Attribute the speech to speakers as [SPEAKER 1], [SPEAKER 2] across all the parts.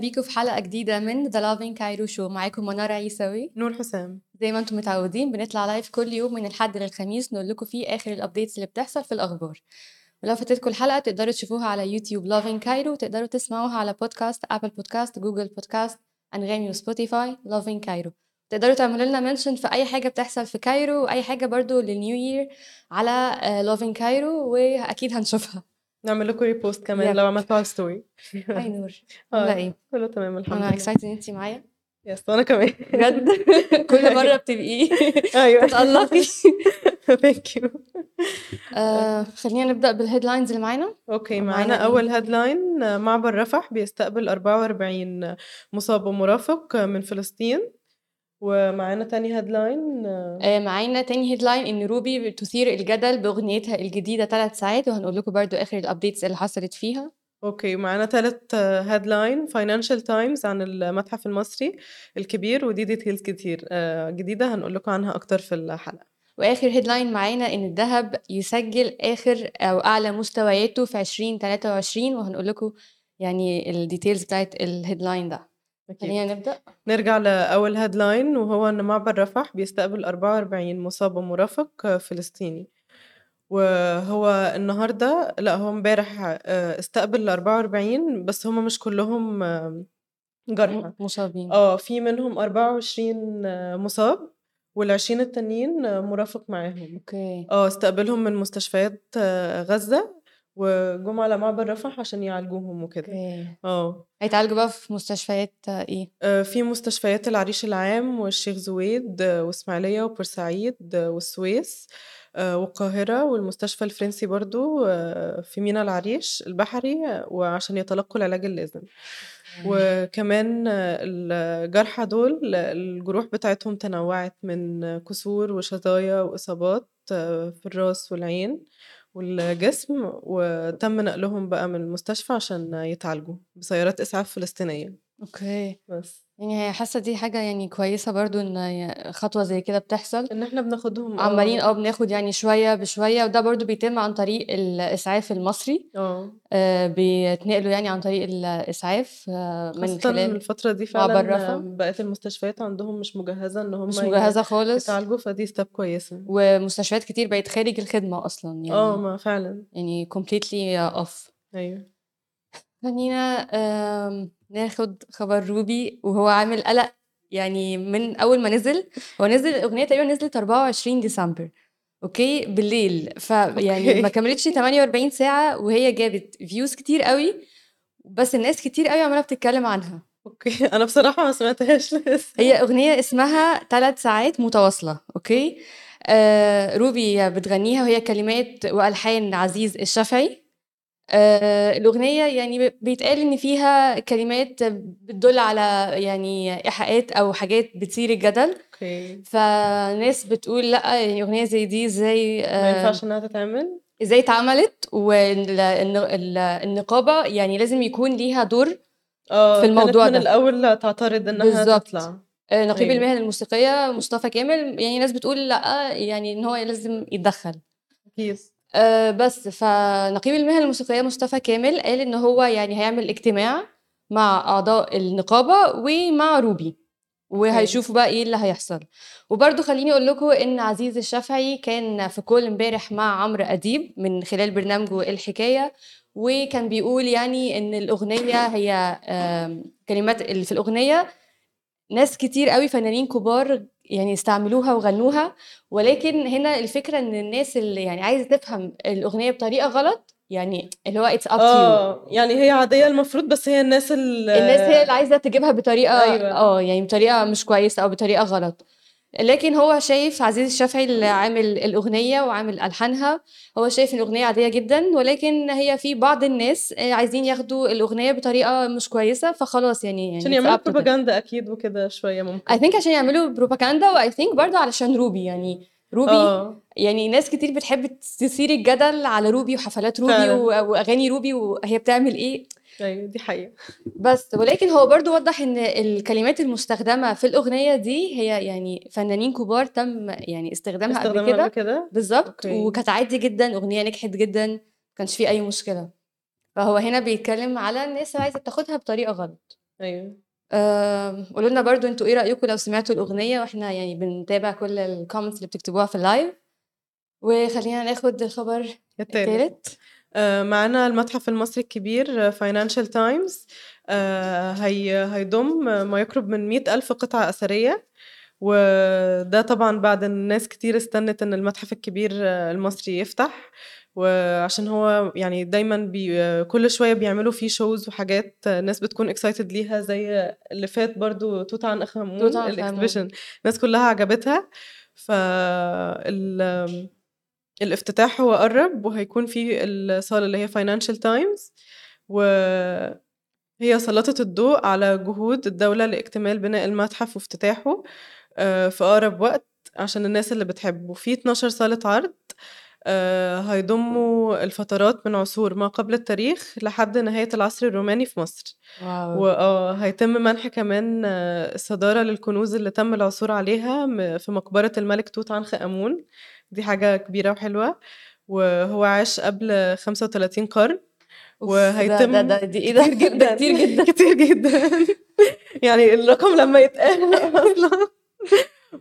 [SPEAKER 1] بيكم في حلقة جديدة من The Loving Cairo Show معاكم منار عيساوي
[SPEAKER 2] نور حسام
[SPEAKER 1] زي ما انتم متعودين بنطلع لايف كل يوم من الحد للخميس نقول لكم فيه آخر الأبديتس اللي بتحصل في الأخبار ولو فاتتكم الحلقة تقدروا تشوفوها على يوتيوب Loving Cairo وتقدروا تسمعوها على بودكاست أبل بودكاست جوجل بودكاست أنغامي وسبوتيفاي Loving Cairo تقدروا تعملوا لنا منشن في أي حاجة بتحصل في كايرو وأي حاجة برضو للنيو يير على لوفين كايرو وأكيد هنشوفها
[SPEAKER 2] نعمل لكم ريبوست كمان
[SPEAKER 1] يلا.
[SPEAKER 2] لو عملتوا على ستوري
[SPEAKER 1] هاي نور
[SPEAKER 2] آه،
[SPEAKER 1] لا ايه
[SPEAKER 2] كله تمام الحمد
[SPEAKER 1] انا
[SPEAKER 2] لله
[SPEAKER 1] اكسايتد ان انت معايا
[SPEAKER 2] يس وانا كمان
[SPEAKER 1] بجد أيوة. كل مره بتبقي
[SPEAKER 2] ايوه
[SPEAKER 1] تتألقي
[SPEAKER 2] ثانك يو
[SPEAKER 1] آه، خلينا نبدا بالهيدلاينز اللي معانا
[SPEAKER 2] اوكي
[SPEAKER 1] معانا
[SPEAKER 2] معانا
[SPEAKER 1] إيه؟
[SPEAKER 2] اول هيدلاين معبر رفح بيستقبل 44 مصاب ومرافق من فلسطين ومعانا تاني هيدلاين
[SPEAKER 1] آه، معانا تاني هيدلاين ان روبي تثير الجدل باغنيتها الجديده ثلاث ساعات وهنقول لكم برضو اخر الابديتس اللي حصلت فيها
[SPEAKER 2] اوكي معانا تالت هيدلاين فاينانشال تايمز عن المتحف المصري الكبير ودي ديتيلز كتير آه، جديده هنقول لكم عنها اكتر في الحلقه
[SPEAKER 1] واخر هيدلاين معانا ان الذهب يسجل اخر او اعلى مستوياته في 2023 وهنقول لكم يعني الديتيلز بتاعت الهيدلاين ده
[SPEAKER 2] أكيد.
[SPEAKER 1] خلينا نبدا
[SPEAKER 2] نرجع لأول هيدلاين وهو إن معبر رفح بيستقبل 44 مصاب ومرافق فلسطيني وهو النهاردة لا هو امبارح آه، استقبل ال 44 بس هما مش كلهم آه، جرحى
[SPEAKER 1] مصابين
[SPEAKER 2] اه في منهم 24 آه، مصاب وال20 التانيين آه، مرافق معاهم
[SPEAKER 1] اوكي
[SPEAKER 2] اه استقبلهم من مستشفيات آه، غزة وجم على معبر رفح عشان يعالجوهم وكده
[SPEAKER 1] اوكي
[SPEAKER 2] اه
[SPEAKER 1] هيتعالجوا بقى في مستشفيات آه، ايه
[SPEAKER 2] آه، في مستشفيات العريش العام والشيخ زويد آه، واسماعيلية وبورسعيد آه، والسويس آه، والقاهرة والمستشفى الفرنسي برضو آه، في ميناء العريش البحري آه، وعشان يتلقوا العلاج اللازم وكمان آه، الجرحى دول آه، الجروح بتاعتهم تنوعت من آه، كسور وشظايا وإصابات آه، في الراس والعين والجسم وتم نقلهم بقى من المستشفى عشان يتعالجوا بسيارات إسعاف فلسطينية
[SPEAKER 1] اوكي
[SPEAKER 2] بس
[SPEAKER 1] يعني هي حاسه دي حاجه يعني كويسه برضو ان هي خطوه زي كده بتحصل
[SPEAKER 2] ان احنا بناخدهم آه،
[SPEAKER 1] عمالين اه بناخد يعني شويه بشويه وده برضو بيتم عن طريق الاسعاف المصري
[SPEAKER 2] اه
[SPEAKER 1] آه بيتنقلوا يعني عن طريق الاسعاف آه من
[SPEAKER 2] خاصة
[SPEAKER 1] خلال
[SPEAKER 2] الفترة دي
[SPEAKER 1] معبر
[SPEAKER 2] فعلا
[SPEAKER 1] رفح.
[SPEAKER 2] آه، بقت المستشفيات عندهم مش مجهزة ان هم
[SPEAKER 1] مش
[SPEAKER 2] ي-
[SPEAKER 1] مجهزه خالص
[SPEAKER 2] يتعالجوا فدي ستاب كويسة
[SPEAKER 1] ومستشفيات كتير بقت خارج الخدمه اصلا
[SPEAKER 2] اه
[SPEAKER 1] يعني
[SPEAKER 2] ما فعلا
[SPEAKER 1] يعني completely off
[SPEAKER 2] ايوه
[SPEAKER 1] خلينا آم، ناخد خبر روبي وهو عامل قلق يعني من اول ما نزل هو نزل الاغنيه تقريبا نزلت 24 ديسمبر اوكي بالليل فيعني ما
[SPEAKER 2] أوكي.
[SPEAKER 1] كملتش 48 ساعه وهي جابت فيوز كتير قوي بس الناس كتير قوي عماله بتتكلم عنها
[SPEAKER 2] اوكي انا بصراحة ما سمعتهاش لسه
[SPEAKER 1] هي اغنيه اسمها ثلاث ساعات متواصله اوكي آه روبي بتغنيها وهي كلمات والحان عزيز الشافعي آه الاغنيه يعني بيتقال ان فيها كلمات بتدل على يعني ايحاءات او حاجات بتثير الجدل
[SPEAKER 2] اوكي
[SPEAKER 1] فناس بتقول لا يعني اغنيه زي دي ازاي
[SPEAKER 2] ما
[SPEAKER 1] آه،
[SPEAKER 2] ينفعش انها تتعمل
[SPEAKER 1] ازاي اتعملت والنقابه يعني لازم يكون ليها دور
[SPEAKER 2] اه
[SPEAKER 1] في الموضوع
[SPEAKER 2] كانت
[SPEAKER 1] ده.
[SPEAKER 2] من الاول تعترض انها
[SPEAKER 1] بالظبط.
[SPEAKER 2] تطلع
[SPEAKER 1] آه، نقيب
[SPEAKER 2] أيوة.
[SPEAKER 1] المهن الموسيقيه مصطفى كامل يعني ناس بتقول لا يعني ان هو لازم يتدخل
[SPEAKER 2] اكيد
[SPEAKER 1] آه، بس فنقيب المهن الموسيقية مصطفى كامل قال إن هو يعني هيعمل اجتماع مع أعضاء النقابة ومع روبي وهيشوفوا بقى ايه اللي هيحصل وبرضه خليني اقول لكم ان عزيز الشافعي كان في كل امبارح مع عمرو اديب من خلال برنامجه الحكايه وكان بيقول يعني ان الاغنيه هي آم، كلمات اللي في الاغنيه ناس كتير قوي فنانين كبار يعني استعملوها وغنوها ولكن هنا الفكره ان الناس اللي يعني عايزه تفهم الاغنيه بطريقه غلط يعني اللي هو اتس اب تو
[SPEAKER 2] اه يعني هي عادية المفروض بس هي الناس اللي
[SPEAKER 1] الناس هي اللي عايزه تجيبها بطريقه
[SPEAKER 2] أيوة.
[SPEAKER 1] اه يعني بطريقه مش كويسه او بطريقه غلط لكن هو شايف عزيز الشافعي اللي عامل الاغنيه وعامل الحانها هو شايف إن الاغنيه عاديه جدا ولكن هي في بعض الناس آه، عايزين ياخدوا الاغنيه بطريقه مش كويسه فخلاص يعني يعني
[SPEAKER 2] عشان
[SPEAKER 1] it's
[SPEAKER 2] يعملوا
[SPEAKER 1] up to them.
[SPEAKER 2] بروباجندا اكيد وكده شوية ممكن
[SPEAKER 1] اي ثينك عشان يعملوا بروباجندا واي ثينك برضه علشان روبي يعني روبي أوه.
[SPEAKER 2] اه
[SPEAKER 1] يعني ناس كتير بتحب تثير الجدل على روبي وحفلات روبي
[SPEAKER 2] فعلاً.
[SPEAKER 1] و- واغاني روبي وهي بتعمل ايه
[SPEAKER 2] ايوه دي حقيقة
[SPEAKER 1] بس ولكن هو برضو وضح ان الكلمات المستخدمه في الاغنيه دي هي يعني فنانين كبار تم يعني استخدامها قبل
[SPEAKER 2] استخدامها قبل
[SPEAKER 1] كده
[SPEAKER 2] كده
[SPEAKER 1] بالظبط
[SPEAKER 2] أوكي.
[SPEAKER 1] وكانت عادي جدا اغنيه نجحت جدا ما كانش في اي مشكله فهو هنا بيتكلم على الناس اللي عايزه تاخدها بطريقه غلط
[SPEAKER 2] ايوه
[SPEAKER 1] آم، قولوا لنا برضو انتوا ايه رايكم لو سمعتوا الاغنيه واحنا يعني بنتابع كل الكومنتس اللي بتكتبوها في اللايف وخلينا ناخد الخبر
[SPEAKER 2] التالت
[SPEAKER 1] الثالث
[SPEAKER 2] آه، معانا المتحف المصري الكبير آه، فاينانشال تايمز آه، هي هيضم ما يقرب من مئة ألف قطعة أثرية وده طبعا بعد إن ناس كتير استنت ان المتحف الكبير آه، المصري يفتح وعشان هو يعني دايما بي آه، كل شويه بيعملوا فيه شوز وحاجات آه، الناس بتكون اكسايتد ليها زي اللي فات برضو توت عنخ امون
[SPEAKER 1] توت عنخ آمون.
[SPEAKER 2] الاكسبيشن الناس كلها عجبتها ف ال- الافتتاح هو قرب وهيكون في الصالة اللي هي فاينانشال تايمز وهي سلطت الضوء على جهود الدولة لاكتمال بناء المتحف وافتتاحه آه، في أقرب وقت عشان الناس اللي بتحبه في 12 صالة عرض آه، هيضموا الفترات من عصور ما قبل التاريخ لحد نهاية العصر الروماني في مصر
[SPEAKER 1] واو
[SPEAKER 2] وهيتم منح كمان آه، الصدارة للكنوز اللي تم العثور عليها م- في مقبرة الملك توت عنخ آمون دي حاجة كبيرة وحلوة وهو عاش قبل 35 قرن
[SPEAKER 1] أوف،
[SPEAKER 2] وهيتم
[SPEAKER 1] ده ده, ده دي ايه ده
[SPEAKER 2] كتير
[SPEAKER 1] ده كتير جدا
[SPEAKER 2] كتير جدا يعني الرقم لما يتقال أصلا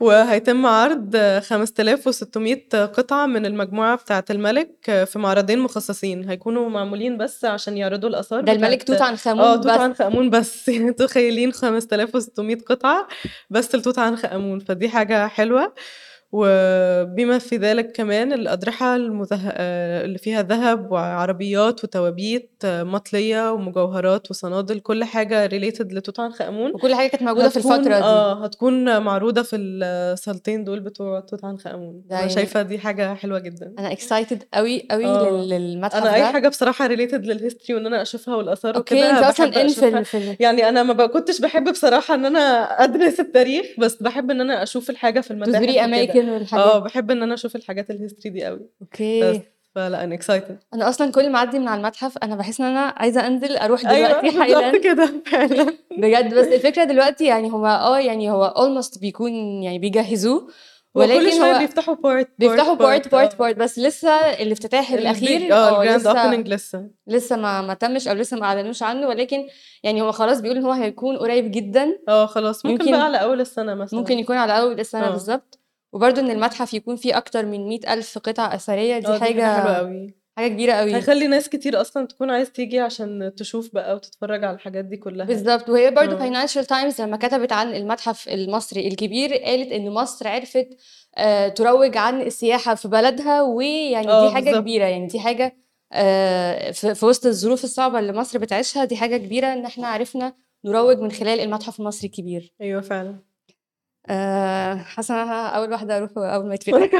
[SPEAKER 2] وهيتم عرض 5600 قطعة من المجموعة بتاعة الملك في معرضين مخصصين هيكونوا معمولين بس عشان يعرضوا الآثار
[SPEAKER 1] ده الملك
[SPEAKER 2] بتاعة-
[SPEAKER 1] توت عنخ
[SPEAKER 2] اه
[SPEAKER 1] امون
[SPEAKER 2] توت
[SPEAKER 1] بس
[SPEAKER 2] عنخ امون بس يعني تخيلين 5600 قطعه بس لتوت عنخ امون فدي حاجه حلوه وبما في ذلك كمان الأضرحة المذه... آه، اللي فيها ذهب وعربيات وتوابيت آه، مطلية ومجوهرات وصنادل كل حاجة ريليتد لتوت عنخ آمون
[SPEAKER 1] وكل حاجه كانت موجوده في
[SPEAKER 2] هتكون-
[SPEAKER 1] الفتره دي
[SPEAKER 2] اه هتكون معروضة في الصالتين دول بتوع توت عنخ آمون
[SPEAKER 1] ده
[SPEAKER 2] أنا
[SPEAKER 1] يعني-
[SPEAKER 2] شايفة دي حاجة حلوة جدا
[SPEAKER 1] انا اكسايتد قوي قوي
[SPEAKER 2] آه.
[SPEAKER 1] لل- للمتحف
[SPEAKER 2] أنا أي
[SPEAKER 1] ده
[SPEAKER 2] حاجة بصراحة ريليتد للهيستوري وإن أنا أشوفها والآثار
[SPEAKER 1] اوكي
[SPEAKER 2] وكده
[SPEAKER 1] انت
[SPEAKER 2] بحب
[SPEAKER 1] اصلا ان في
[SPEAKER 2] أشوفها.
[SPEAKER 1] ال- في ال-
[SPEAKER 2] يعني انا ما ب- كنتش بحب بصراحه ان انا ادرس التاريخ بس بحب ان انا اشوف الحاجه في المتاحف
[SPEAKER 1] تزوري
[SPEAKER 2] وكده.
[SPEAKER 1] اماكن
[SPEAKER 2] اه
[SPEAKER 1] والحاجات
[SPEAKER 2] بحب ان انا اشوف الحاجات الهيستوري دي قوي
[SPEAKER 1] اوكي
[SPEAKER 2] فلا انا اكسايتد
[SPEAKER 1] انا اصلا كل ما اعدي من على المتحف انا بحس ان انا عايزه انزل اروح
[SPEAKER 2] ايوه
[SPEAKER 1] دلوقتي حالا
[SPEAKER 2] بالظبط كده فعلا
[SPEAKER 1] بجد بس الفكره دلوقتي يعني هو اه يعني هو almost بيكون يعني بيجهزوه
[SPEAKER 2] وكل
[SPEAKER 1] ولكن
[SPEAKER 2] شويه
[SPEAKER 1] هو
[SPEAKER 2] بيفتحوا بارت
[SPEAKER 1] بيفتحوا بارت بارت بارت بس لسه الافتتاح الاخير
[SPEAKER 2] اه آه. الجراند
[SPEAKER 1] آه، لسه
[SPEAKER 2] اوبننج لسه
[SPEAKER 1] لسه ما ما تمش او لسه ما اعلنوش عنه ولكن يعني هو خلاص بيقول ان هو هيكون قريب جدا
[SPEAKER 2] اه خلاص ممكن
[SPEAKER 1] يمكن-
[SPEAKER 2] بقى على اول السنه مثلا
[SPEAKER 1] ممكن يكون على اول السنه
[SPEAKER 2] آه.
[SPEAKER 1] بالظبط وبرضه ان المتحف يكون فيه اكتر من مئة ألف قطعة أثرية
[SPEAKER 2] آه،
[SPEAKER 1] دي
[SPEAKER 2] دي حاجه
[SPEAKER 1] حاجة
[SPEAKER 2] حلوه قوي
[SPEAKER 1] حاجة كبيرة قوي
[SPEAKER 2] هيخلي ناس كتير اصلا تكون عايز تيجي عشان تشوف بقى وتتفرج على الحاجات دي كلها
[SPEAKER 1] بالظبط وهي برضو
[SPEAKER 2] آه.
[SPEAKER 1] فاينانشال تايمز لما كتبت عن المتحف المصري الكبير قالت ان مصر عرفت آه، تروج عن السياحة في بلدها ويعني
[SPEAKER 2] آه،
[SPEAKER 1] دي حاجة
[SPEAKER 2] بالظبط.
[SPEAKER 1] كبيرة يعني دي حاجة آه، في في وسط الظروف الصعبة اللي مصر بتعيشها دي حاجة كبيرة ان احنا عرفنا نروج من خلال المتحف المصري الكبير
[SPEAKER 2] ايوه فعلا
[SPEAKER 1] آه، حاسة إن انا اول واحدة اروح اول ما يتفتح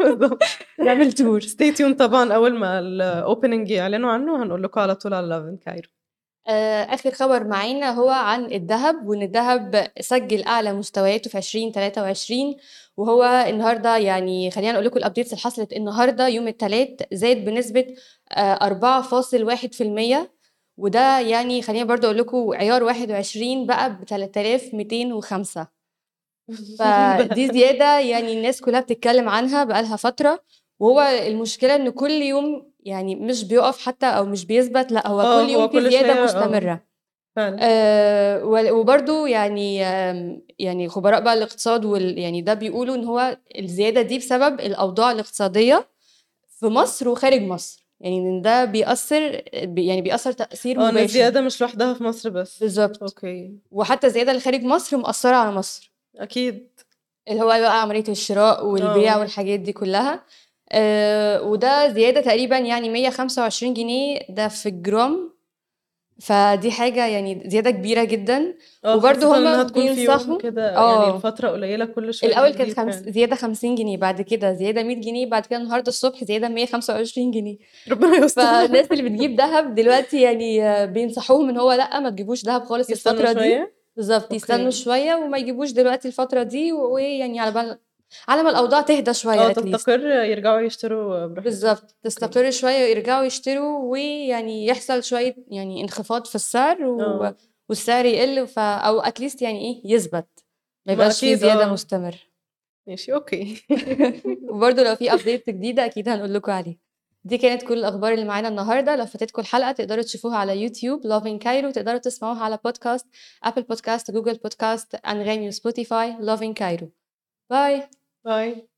[SPEAKER 2] بالظبط
[SPEAKER 1] نعمل تور
[SPEAKER 2] ستي تيون طبعا اول ما الاوبننج يعلنوا عنه هنقول لكم على طول على لافن كايرو
[SPEAKER 1] آه، آخر خبر معانا هو عن الذهب وإن الذهب سجل أعلى مستوياته في 2023 وهو النهاردة يعني خلينا نقول لكم الأبديتس اللي حصلت النهاردة يوم الثلاث زاد بنسبة آه، 4.1% وده يعني خلينا برضو أقول لكم عيار 21 بقى ب 3205 فدي زيادة يعني الناس كلها بتتكلم عنها بقالها فترة وهو المشكلة إن كل يوم يعني مش بيقف حتى أو مش بيثبت لا هو
[SPEAKER 2] آه،
[SPEAKER 1] كل
[SPEAKER 2] هو
[SPEAKER 1] يوم في
[SPEAKER 2] كل شوية،
[SPEAKER 1] زيادة
[SPEAKER 2] آه.
[SPEAKER 1] مستمرة
[SPEAKER 2] فعلا
[SPEAKER 1] آه، وال- وبرضو يعني آم، يعني خبراء بقى الاقتصاد وال يعني ده بيقولوا ان هو الزياده دي بسبب الاوضاع الاقتصاديه في مصر وخارج مصر يعني ان ده بيأثر بي- يعني بيأثر تأثير
[SPEAKER 2] اه إن
[SPEAKER 1] مباشر
[SPEAKER 2] الزياده مش لوحدها في مصر بس
[SPEAKER 1] بالظبط
[SPEAKER 2] اوكي
[SPEAKER 1] وحتى الزياده اللي خارج مصر مأثره على مصر
[SPEAKER 2] اكيد
[SPEAKER 1] اللي هو بقى عمليه الشراء والبيع
[SPEAKER 2] آه.
[SPEAKER 1] والحاجات دي كلها آه، وده زياده تقريبا يعني 125 جنيه ده في الجرام فدي حاجه يعني زياده كبيره جدا
[SPEAKER 2] اه
[SPEAKER 1] وبرضه
[SPEAKER 2] خاصة
[SPEAKER 1] هما
[SPEAKER 2] انها تكون في يوم
[SPEAKER 1] بينصحوا-
[SPEAKER 2] كده
[SPEAKER 1] آه.
[SPEAKER 2] يعني الفترة قليلة كل شوية يعني.
[SPEAKER 1] الاول
[SPEAKER 2] بتزيد
[SPEAKER 1] كانت خمس...
[SPEAKER 2] فعلا.
[SPEAKER 1] زياده 50 جنيه بعد كده زياده 100 جنيه بعد كده النهارده الصبح زياده 125 جنيه
[SPEAKER 2] ربنا يستر
[SPEAKER 1] فالناس اللي بتجيب ذهب دلوقتي يعني آه، بينصحوهم ان هو لا ما تجيبوش ذهب خالص
[SPEAKER 2] يستنوا
[SPEAKER 1] الفتره دي
[SPEAKER 2] شوية
[SPEAKER 1] بالظبط
[SPEAKER 2] أوكي.
[SPEAKER 1] يستنوا شويه وما يجيبوش دلوقتي الفتره دي و- ويعني على بال على ما الاوضاع تهدى شويه
[SPEAKER 2] اه
[SPEAKER 1] at least.
[SPEAKER 2] تستقر يرجعوا يشتروا براحتهم
[SPEAKER 1] بالظبط تستقر شويه ويرجعوا يشتروا ويعني يحصل شويه يعني انخفاض في السعر و...
[SPEAKER 2] آه.
[SPEAKER 1] والسعر يقل ف... او اتليست يعني ايه يثبت ما
[SPEAKER 2] ما
[SPEAKER 1] يبقاش في
[SPEAKER 2] أكيد،
[SPEAKER 1] زياده
[SPEAKER 2] آه.
[SPEAKER 1] مستمره
[SPEAKER 2] ماشي اوكي
[SPEAKER 1] وبرضه لو في ابديت جديده اكيد هنقول لكم عليه دي كانت كل الاخبار اللي معانا النهارده لو فاتتكم الحلقه تقدروا تشوفوها على يوتيوب لافين كايرو تقدروا تسمعوها على بودكاست ابل بودكاست جوجل بودكاست انغامي وسبوتيفاي لافين كايرو باي
[SPEAKER 2] باي